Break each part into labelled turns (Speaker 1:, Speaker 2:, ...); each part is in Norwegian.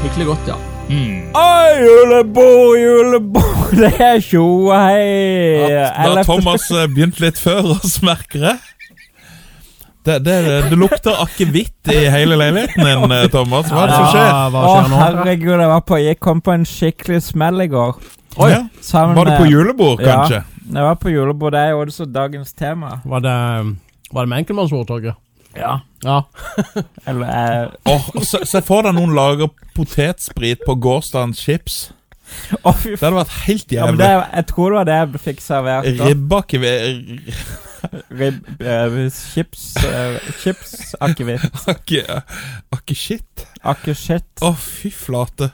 Speaker 1: skikkelig godt, ja.
Speaker 2: Mm.
Speaker 3: Oi, julebord, julebord, det er tjo og hei!
Speaker 2: At da
Speaker 3: Ellevte-
Speaker 2: Thomas eh, begynte litt før oss, merker jeg. Det, det, det lukter akevitt i hele leiligheten din, eh, Thomas. Hva er det som skjer?
Speaker 4: Ja, hva
Speaker 3: Å,
Speaker 4: skjer nå?
Speaker 3: herregud, jeg, var på, jeg kom på en skikkelig smell i går.
Speaker 2: Oi,
Speaker 3: Sammen
Speaker 2: Var du på
Speaker 3: med-
Speaker 2: julebord,
Speaker 3: eh, Ja.
Speaker 2: kanskje?
Speaker 3: Jeg var på julebord, det er jo også dagens tema.
Speaker 4: Var det, var det med enkeltmannsvoldtaket?
Speaker 3: Ja.
Speaker 4: Ja.
Speaker 3: Eller eh,
Speaker 2: Åh, Se se for deg noen lager potetsprit på gårsdagens chips.
Speaker 3: Å, fy
Speaker 2: Det hadde vært helt
Speaker 3: Ja, men
Speaker 2: jævlig.
Speaker 3: det, jeg tror det var det jeg fikk servert. da.
Speaker 2: Ribbeakevitt
Speaker 3: Ribb, eh, chips, eh, chips, akevitt,
Speaker 2: Akeshit.
Speaker 3: akeshit.
Speaker 2: Å, fy flate.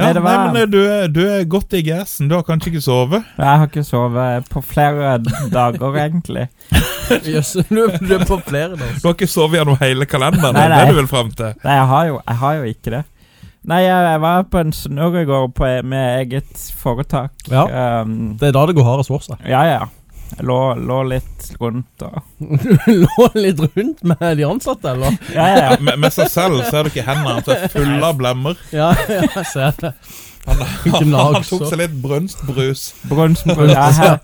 Speaker 3: Nei,
Speaker 2: Ja,
Speaker 3: det
Speaker 2: nei,
Speaker 3: var-
Speaker 2: men eh, du er, du er godt i gassen. Du har kanskje ikke sovet?
Speaker 3: Jeg har ikke sovet på flere dager, egentlig.
Speaker 4: Jøss, du du er på flere nå.
Speaker 2: Du har ikke sovet gjennom hele kalenderen?
Speaker 3: Nei,
Speaker 2: det er
Speaker 3: nei.
Speaker 2: det du vil frem til?
Speaker 3: Nei, jeg har jo, jeg har jo ikke det. Nei, jeg, jeg var på en snurr i går på, med eget foretak.
Speaker 4: Ja.
Speaker 3: Um,
Speaker 4: Det er da det går hardest for seg.
Speaker 3: ja, ja. Jeg lå, lå litt rundt og
Speaker 4: Du lå litt rundt med de ansatte, eller?
Speaker 3: Ja, ja. ja.
Speaker 2: Med, med seg selv så er det ikke hendene hans er fulle av blemmer.
Speaker 4: Ja, ja jeg ser det.
Speaker 2: Han, han,
Speaker 4: Gnag,
Speaker 2: han tok
Speaker 4: så.
Speaker 2: seg litt brunstbrus.
Speaker 3: Brunsbrus. Ja, her.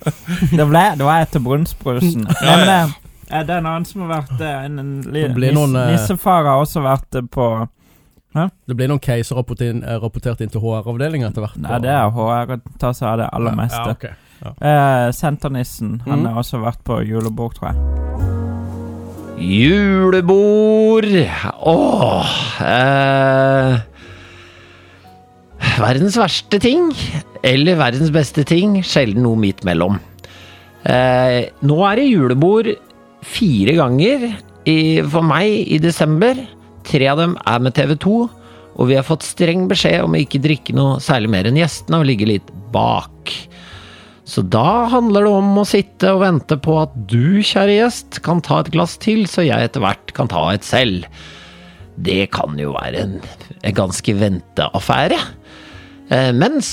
Speaker 3: det ble, det var etter brunsbrusen.
Speaker 2: Ja,
Speaker 3: Men
Speaker 2: ja.
Speaker 3: eh, eh, det er en annen som har vært eh, en, en li,
Speaker 4: Det blir
Speaker 3: nis,
Speaker 4: noen, eh,
Speaker 3: Nissefar har også vært eh, på
Speaker 4: Det blir noen caser rapport inn- eh, rapportert inn til HR-avdelingen etter hvert.
Speaker 3: Nei, det er HR å ta seg av det aller meste.
Speaker 4: Ja, ok.
Speaker 3: Eh, Senternissen. Han
Speaker 4: Mhm.
Speaker 3: har også vært på julebord, tror jeg.
Speaker 5: Julebord Åh eh, Verdens verste ting Eller verdens beste ting Sjelden noe midt mellom eh, Nå er det julebord Fire ganger i, For meg i desember Tre av dem er med TV 2 Og vi har fått streng beskjed om å ikke drikke noe Særlig mer enn gjestene Og ligge litt bak så da handler det om å sitte og vente på at du, kjære gjest, kan ta et glass til, så jeg etter hvert kan ta et selv. Det kan jo være en, en ganske venteaffære. Eh, mens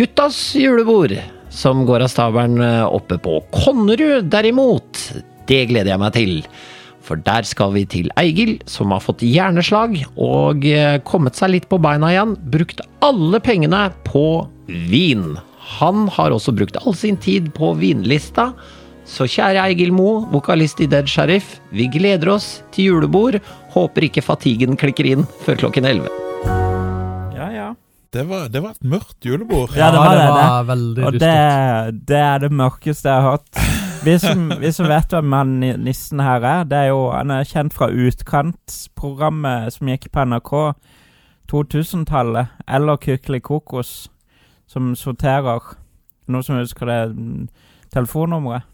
Speaker 5: guttas julebord, som går av stabelen eh, oppe på Konnerud, derimot, det gleder jeg meg til. For der skal vi til Eigil, som har fått hjerneslag og eh, kommet seg litt på beina igjen. Brukt alle pengene på vin. Han har også brukt all sin tid på vinlista. Så kjære Eigil Mo, vokalist i Dead Sheriff, vi gleder oss til julebord. Håper ikke fatiguen klikker inn før klokken 11.
Speaker 3: Ja, ja.
Speaker 2: Det var, det var et mørkt julebord.
Speaker 3: Ja, det var det. det.
Speaker 4: var veldig
Speaker 3: Og det, det er det mørkeste jeg har hatt. Vi som, vi som vet hvem han ni- nissen her er, det er jo Han er kjent fra Utkantsprogrammet som gikk på NRK 2000-tallet, eller Kykeli Kokos, som sorterer. Noen som husker det mm, telefonnummeret?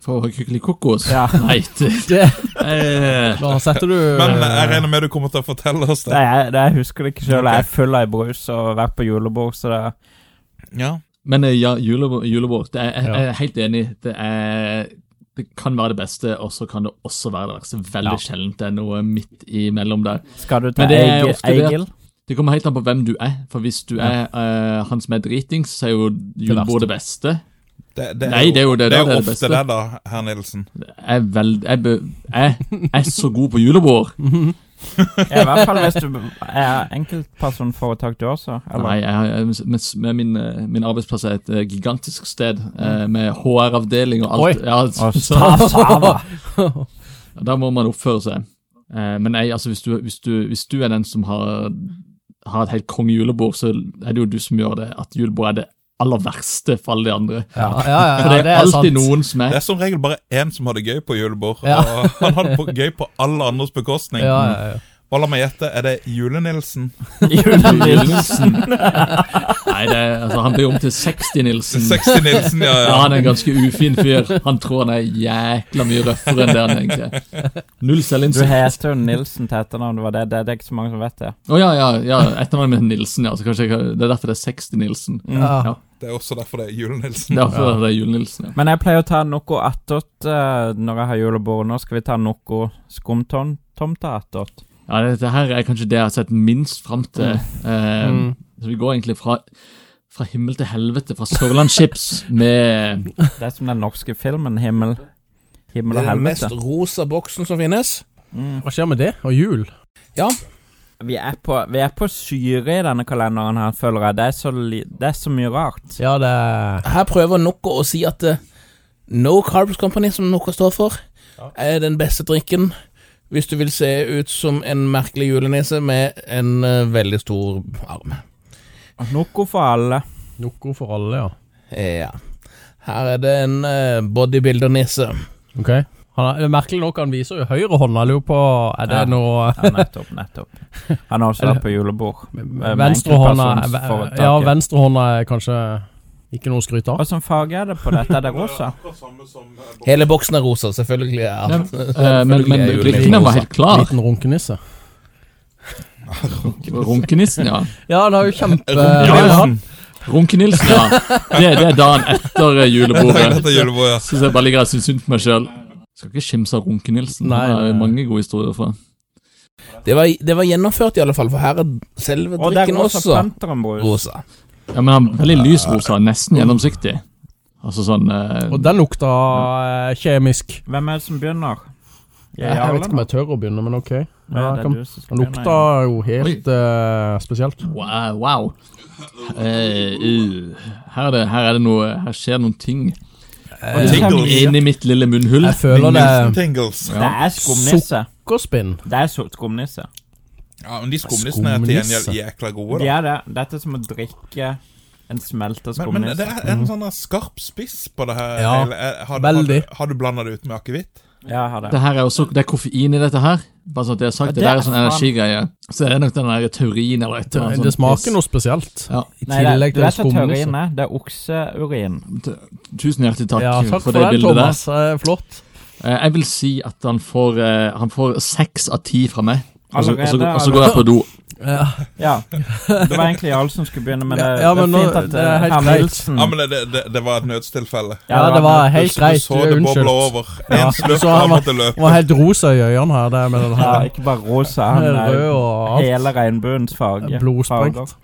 Speaker 1: For Kykeli Kokos.
Speaker 3: Ja.
Speaker 1: Nei, det,
Speaker 4: Det-
Speaker 1: eh,
Speaker 4: Da setter du
Speaker 2: Men jeg regner med du kommer til å fortelle oss
Speaker 3: Det,
Speaker 2: det.
Speaker 3: er- det, jeg husker det ikke sjøl. Jeg er full av brus og har vært på julebord, så det
Speaker 2: Ja.
Speaker 1: men eh, ja, julebord, julebord det er, jeg,
Speaker 4: Ja.
Speaker 1: jeg er helt enig. Det er det kan være det beste, og så kan det også være det verste. Veldig sjeldent det er noe midt imellom der.
Speaker 3: Skal du
Speaker 1: Men
Speaker 3: til
Speaker 1: det er
Speaker 3: Eigil?
Speaker 1: ofte det at-
Speaker 3: Eigil?
Speaker 1: Det kommer helt an på hvem du er, for hvis du er eh, han som er dritings, så er jo julebord det beste.
Speaker 2: Det,
Speaker 1: Nei, det er jo det,
Speaker 2: det er
Speaker 1: da, det
Speaker 2: jo
Speaker 1: er det
Speaker 2: ofte
Speaker 1: beste.
Speaker 2: det, da, herr Nilsen.
Speaker 1: Jeg er, veld, jeg, bø- jeg er så god på julebord.
Speaker 3: Ja, I hvert fall hvis du er enkeltpersonforetak, du også. Eller?
Speaker 1: Nei, jeg, jeg, men, men min, eh, min arbeidsplass er et eh, gigantisk sted eh, med HR-avdeling og alt.
Speaker 4: Mm. Oi.
Speaker 1: Ja,
Speaker 3: Og
Speaker 1: så,
Speaker 3: Sava.
Speaker 1: ja, da må man oppføre seg. Eh, men nei, altså, hvis, du, hvis, du, hvis du er den som har, har et helt kongejulebord, så er det jo du som gjør det. At julebord er det aller verste for alle de andre.
Speaker 4: Ja, ja, ja, ja,
Speaker 1: For det er, alltid
Speaker 4: sant.
Speaker 1: noen som
Speaker 2: Det
Speaker 1: er
Speaker 2: er som regel bare én som har det gøy på julebord.
Speaker 4: Ja.
Speaker 2: Og han har det på, gøy på alle andres bekostning.
Speaker 4: Ja, ja, ja.
Speaker 2: Og la meg gjette, er det Jule-Nilsen?
Speaker 1: Nilsen. Nei, det er, altså, han blir om til 60-Nilsen.
Speaker 2: 60-Nilsen, ja,
Speaker 1: Ja,
Speaker 2: ja.
Speaker 1: han er en ganske ufin fyr. Han tror han er jækla mye røffere enn det han egentlig er. Null
Speaker 3: Du
Speaker 1: selvinnsikt.
Speaker 3: heter jo Nilsen til etternavn, det var det. Det det er ikke så mange som vet det.
Speaker 1: Å ja, ja, ja, etternavnet mitt er Nilsen, ja. Så kanskje jeg, det er derfor det er 60-Nilsen.
Speaker 6: Mm.
Speaker 4: Ja.
Speaker 2: Det er også derfor det er Jule-Nilsen.
Speaker 1: Derfor er det Jule-Nilsen, ja.
Speaker 3: Men jeg pleier å ta noe attåt eh, når jeg har julebord. Nå skal vi ta noe skumtomte attåt.
Speaker 1: ja det, det her er kanskje det jeg har sett minst fram til. Eh,
Speaker 4: Mm.
Speaker 1: så vi går egentlig fra, fra himmel til helvete, fra Sørlandschips med
Speaker 3: Det er som den norske filmen 'Himmel, himmel og helvete'.
Speaker 6: rosa boksen som finnes.
Speaker 3: Mm.
Speaker 4: Hva skjer med det? Og jul?
Speaker 6: Ja.
Speaker 3: Vi er, på, vi er på syre i denne kalenderen her, føler jeg. Det er så, li, det er så mye rart.
Speaker 4: Ja, det er
Speaker 6: Her prøver Noko å si at eh, No Carbs Company, som Noko står for, er den beste drikken hvis du vil se ut som en merkelig julenisse med en eh, veldig stor arm.
Speaker 3: Noe for alle.
Speaker 4: Noco for alle, ja.
Speaker 6: Eh, Ja. Her er det en eh, bodybuilder-nisse.
Speaker 4: Ok. Han er, det er merkelig nok, han viser jo høyrehånda. Jeg lurer på Er det
Speaker 3: Ja.
Speaker 4: noe eh,
Speaker 3: Ja, nettopp, nettopp. Han har også vært på julebord. Eh,
Speaker 4: Eh,
Speaker 3: med
Speaker 4: Venstrehånda
Speaker 6: eh,
Speaker 3: enkeltpersonsforetaket.
Speaker 4: eh, Ja, venstrehånda er kanskje ikke noe å skryte av.
Speaker 3: Hvilken farge er det på dette? Er eh, det rosa?
Speaker 6: Hele boksen er rosa, selvfølgelig. Ja.
Speaker 1: Ja, Eh,
Speaker 6: Selvfølgelig
Speaker 1: men men
Speaker 6: er
Speaker 1: drikken den var
Speaker 6: rosa.
Speaker 1: helt klar.
Speaker 4: Liten runkenisse.
Speaker 1: Runkenissen, ja.
Speaker 4: Ja, han har jo kjempe...
Speaker 1: Runkenilsen, ja. Det, det er dagen etter eh, julebordet.
Speaker 2: Dette julebordet. ja.
Speaker 1: Syns jeg bare ligger og syns synd på meg sjøl. Skal ikke skimse av Runkenilsen.
Speaker 4: Nei,
Speaker 1: Det er
Speaker 4: nei.
Speaker 1: mange gode historier fra.
Speaker 6: Det var, det var gjennomført, i alle fall, for her er selve
Speaker 3: Og det er
Speaker 6: drikken
Speaker 3: rosa
Speaker 6: også
Speaker 3: Pantherumbrus.
Speaker 6: rosa.
Speaker 1: Ja, men han er veldig lys rosa, nesten gjennomsiktig. Altså sånn eh,
Speaker 4: Og den lukta eh, kjemisk.
Speaker 3: Hvem er det som begynner?
Speaker 4: Jeg, jeg vet
Speaker 3: Jarle,
Speaker 4: ikke om
Speaker 3: da?
Speaker 4: jeg tør å begynne, men ok.
Speaker 3: Ja,
Speaker 4: Ja,
Speaker 3: det
Speaker 4: kan,
Speaker 3: er du som skal
Speaker 4: den
Speaker 3: begynne,
Speaker 4: lukta
Speaker 3: Jarle.
Speaker 4: jo helt eh, spesielt.
Speaker 1: Wow. wow. Eh, uh, her, er det, her er det noe Her skjer noen ting
Speaker 2: Tingles.
Speaker 1: inni mitt lille munnhull.
Speaker 4: Jeg føler det
Speaker 2: Nilsen Tingles.
Speaker 3: Det er skumnisse.
Speaker 4: Kokkospinn.
Speaker 3: Det er so- skumnisse.
Speaker 2: Ja, men de skumnissene er til gjengjeld jækla gode,
Speaker 3: De
Speaker 2: da.
Speaker 3: er det. Dette er som å drikke en smelta
Speaker 2: Men, men det
Speaker 3: skumnisse.
Speaker 2: er en sånn der skarp spiss på det her.
Speaker 4: Mm. Ja,
Speaker 2: hele- eh, har, du-
Speaker 4: veldig.
Speaker 2: Har, du- har du blanda det ut med akevitt?
Speaker 3: Ja, jeg har det.
Speaker 1: Det her er også, det er koffein i dette her. Bare sånn at jeg har
Speaker 3: Ja,
Speaker 1: sagt, det,
Speaker 3: det
Speaker 1: der
Speaker 3: er
Speaker 1: er sånn
Speaker 3: faen-
Speaker 1: energigreie. Så det er nok den der teorien eller et eller annet.
Speaker 4: Det
Speaker 1: sånt
Speaker 4: smaker
Speaker 1: piss.
Speaker 4: noe spesielt.
Speaker 1: Ja.
Speaker 3: Nei,
Speaker 4: I
Speaker 3: det,
Speaker 4: tillegg
Speaker 3: du
Speaker 4: til
Speaker 3: vet hva teorien
Speaker 4: skumnisse.
Speaker 3: er? Det er okseurin.
Speaker 1: Tusen hjertelig takk,
Speaker 4: Ja, takk
Speaker 1: for
Speaker 4: for
Speaker 1: det
Speaker 4: det,
Speaker 1: bildet der.
Speaker 4: Thomas. Eh, Flott.
Speaker 1: Eh, Jeg vil si at han får eh, Han får seks av ti fra meg. Og så, og, så,
Speaker 3: Allerede,
Speaker 1: og så går jeg på do.
Speaker 4: Ja.
Speaker 3: Ja. Det var egentlig Jarle som skulle begynne, men det,
Speaker 4: Ja,
Speaker 3: det er
Speaker 4: men nå-
Speaker 3: fint at eh,
Speaker 4: det er helt
Speaker 3: herr
Speaker 4: greit.
Speaker 3: Nilsen
Speaker 2: Ja, men det, det, det, det var et nødstilfelle.
Speaker 4: Ja, det var helt
Speaker 2: Du- Du
Speaker 4: greit. Du
Speaker 2: så det
Speaker 4: er
Speaker 2: bobla
Speaker 4: unnskyldt.
Speaker 2: over.
Speaker 4: Ja,
Speaker 2: En slurk
Speaker 4: så han
Speaker 2: han
Speaker 4: var-
Speaker 2: måtte løpe.
Speaker 4: Han var helt rosa i øynene her, det med den
Speaker 3: ja,
Speaker 4: her
Speaker 3: Ikke bare rosa,
Speaker 4: den
Speaker 3: han
Speaker 4: er
Speaker 3: er
Speaker 4: rød og alt.
Speaker 3: hele regnbuens farge.
Speaker 4: Blodsprengt.
Speaker 3: Farger.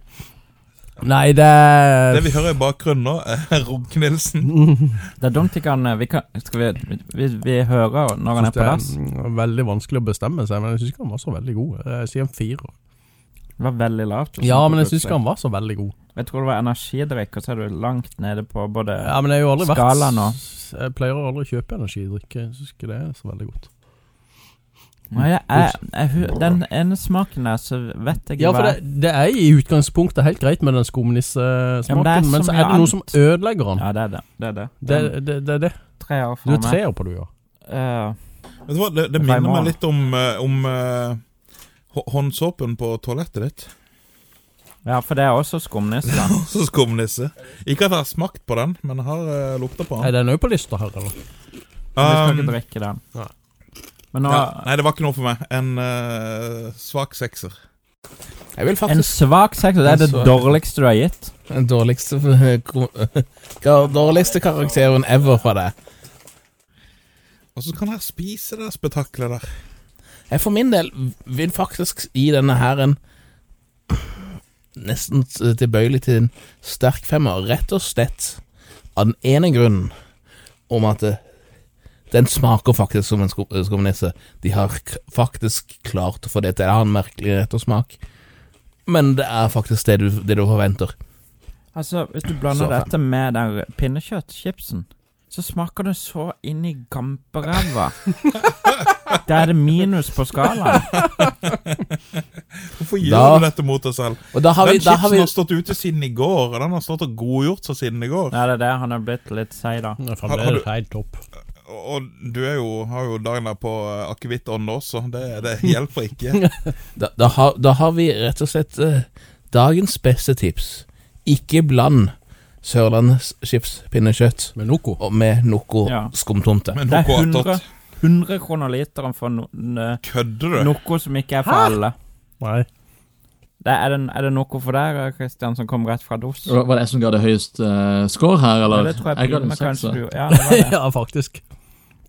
Speaker 4: Nei, det er
Speaker 2: Det vi hører i bakgrunnen nå, er Runk-Nilsen.
Speaker 4: Mm.
Speaker 3: Det er dumt ikke han eh, vi kan, Skal vi, vi, vi hører når han er
Speaker 4: Det
Speaker 3: på dass.
Speaker 4: er veldig vanskelig å bestemme seg, men jeg syns ikke han var så veldig god. Jeg sier en firer. Eh,
Speaker 3: Det var veldig lavt.
Speaker 4: Ja, men jeg syns ikke han var så veldig god.
Speaker 3: Jeg tror det var energidrikk, og så er du langt nede på både
Speaker 4: Ja, men jeg har jo aldri vært
Speaker 3: Skala nå.
Speaker 4: Jeg pleier aldri å kjøpe energidrikke. Jeg syns ikke det er så veldig godt.
Speaker 3: Nei, jeg, jeg, jeg, hu- Den ene smaken der, så vet jeg
Speaker 4: Ja,
Speaker 3: ikke
Speaker 4: for
Speaker 3: hva
Speaker 4: det, det er i utgangspunktet helt greit med den
Speaker 3: Ja, men
Speaker 4: skumnissesmaken,
Speaker 3: det er så
Speaker 4: men så
Speaker 3: mye
Speaker 4: er det noe
Speaker 3: annet.
Speaker 4: som ødelegger den.
Speaker 3: Ja, det er det. Det er det.
Speaker 4: Det,
Speaker 3: Den
Speaker 4: det, det er det.
Speaker 3: treer
Speaker 4: Du
Speaker 3: for
Speaker 4: er
Speaker 3: meg.
Speaker 4: treer på du, ja.
Speaker 3: Eh,
Speaker 2: Vet du hva, Det, det minner meg litt om, eh, om eh, hå- håndsåpen på toalettet ditt.
Speaker 3: ja, for det er også skumnisse. da.
Speaker 2: Så skumnisse. Ikke at jeg har smakt på den, men jeg har eh, lukta på
Speaker 4: Er
Speaker 2: den.
Speaker 4: den òg på lista her, eller?
Speaker 3: Men Vi skal
Speaker 2: Um,
Speaker 3: ikke drikke den.
Speaker 4: Nei.
Speaker 3: Men nå
Speaker 2: ja, nei, det var ikke noe for meg. En eh, svak sekser.
Speaker 6: Jeg vil
Speaker 3: En
Speaker 6: faktisk
Speaker 3: svak sektor, det er det
Speaker 6: En svak-
Speaker 3: dårligste du har gitt.
Speaker 6: Den dårligste, ko- ka- dårligste karakteren ever fra deg.
Speaker 2: Og så kan jeg spise det spetakkelet der.
Speaker 6: Jeg for min del vil faktisk gi denne her en nesten t- tilbøyelig til en sterk femmer, rett og slett av den ene grunnen om at eh, den smaker faktisk som en skum- eh, skumnisse. De har k- faktisk klart å få det til. Det har en merkelig rett og smak, men det er faktisk det du, det du forventer.
Speaker 3: Altså, hvis du
Speaker 6: Så
Speaker 3: blander
Speaker 6: fem.
Speaker 3: dette med den pinnekjøttchipsen, så smaker det så inn i gamperæva. Da er det minus på skalaen.
Speaker 2: Hvorfor gjør
Speaker 6: Da-
Speaker 2: du dette mot deg selv?
Speaker 6: Og da har
Speaker 2: den
Speaker 6: vi, da
Speaker 2: chipsen
Speaker 6: har vi
Speaker 2: har stått ute siden i går, og den har stått og godgjort seg siden i går.
Speaker 3: Ja, det er det. Han er blitt litt seig, da.
Speaker 4: Det er
Speaker 2: Har- har
Speaker 4: fremdeles helt topp.
Speaker 2: Og, og du er jo, har jo dagen der på eh, akevittånd også. Det, det hjelper ikke.
Speaker 6: Da, da, har, da har vi rett og slett eh, dagens beste tips. Ikke bland Sørlandets chips pinnekjøtt
Speaker 4: Med Noco.
Speaker 6: og med noe
Speaker 3: Ja.
Speaker 6: skumtomte.
Speaker 2: Men
Speaker 3: Det
Speaker 2: noe
Speaker 3: er 100,
Speaker 2: attåt.
Speaker 3: 100 kroner literen for no, n-
Speaker 2: Kødder du?
Speaker 3: noe som ikke er for alle.
Speaker 4: Nei.
Speaker 3: Det, er, det, er det noe for deg, Kristian, som kom rett fra dos?
Speaker 1: Var det jeg som ga det høyest eh, score her,
Speaker 3: Ja,
Speaker 1: eller?
Speaker 3: det tror jeg,
Speaker 1: ga
Speaker 3: jeg
Speaker 1: det en sekser.
Speaker 3: kanskje du Ja, det var det.
Speaker 4: ja, faktisk.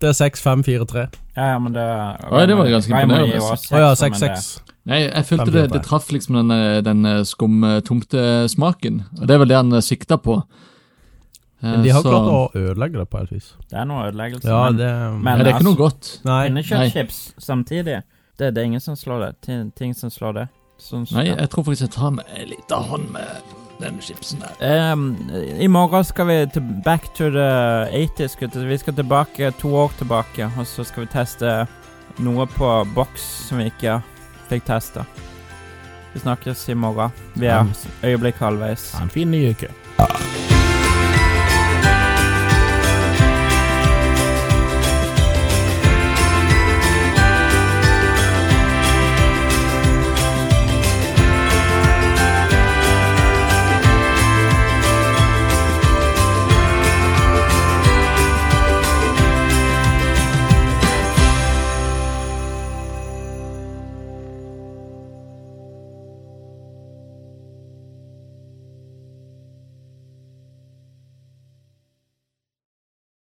Speaker 4: Det er 6543.
Speaker 3: Ja, ja, men det
Speaker 1: Oi, det var ganske
Speaker 3: Raymond
Speaker 1: imponerende.
Speaker 3: gir jo også
Speaker 4: Å ja,
Speaker 3: sekser, men det-
Speaker 4: 66.
Speaker 1: Nei, jeg følte det,
Speaker 4: Fem minutter.
Speaker 1: det traff liksom den, eh, den eh, skum-tomte-smaken. Og det er vel det han eh, sikta på. Eh,
Speaker 4: Men de har
Speaker 1: så-
Speaker 4: klart å ødelegge det på et vis.
Speaker 3: Det er noe ødeleggelse.
Speaker 4: Ja,
Speaker 3: men-
Speaker 4: det
Speaker 1: Nei,
Speaker 3: men-
Speaker 1: det er ikke noe godt.
Speaker 4: Nei.
Speaker 3: Pinnekjøttchips samtidig. Det, det er ingen som slår det. Ting, ting som slår det. Sånn, som-
Speaker 1: Nei, jeg tror faktisk jeg tar med en liten hånd med den chipsen der.
Speaker 3: Ehm, I morgen skal vi til back to the 80s, gutter. Vi skal tilbake to år tilbake, og så skal vi teste noe på boks som vi ikke fikk testa. Vi snakkes i morgen. Vi er
Speaker 6: Mm.
Speaker 3: øyeblikk halvveis.
Speaker 6: Ha en fin ny uke.
Speaker 3: Ja.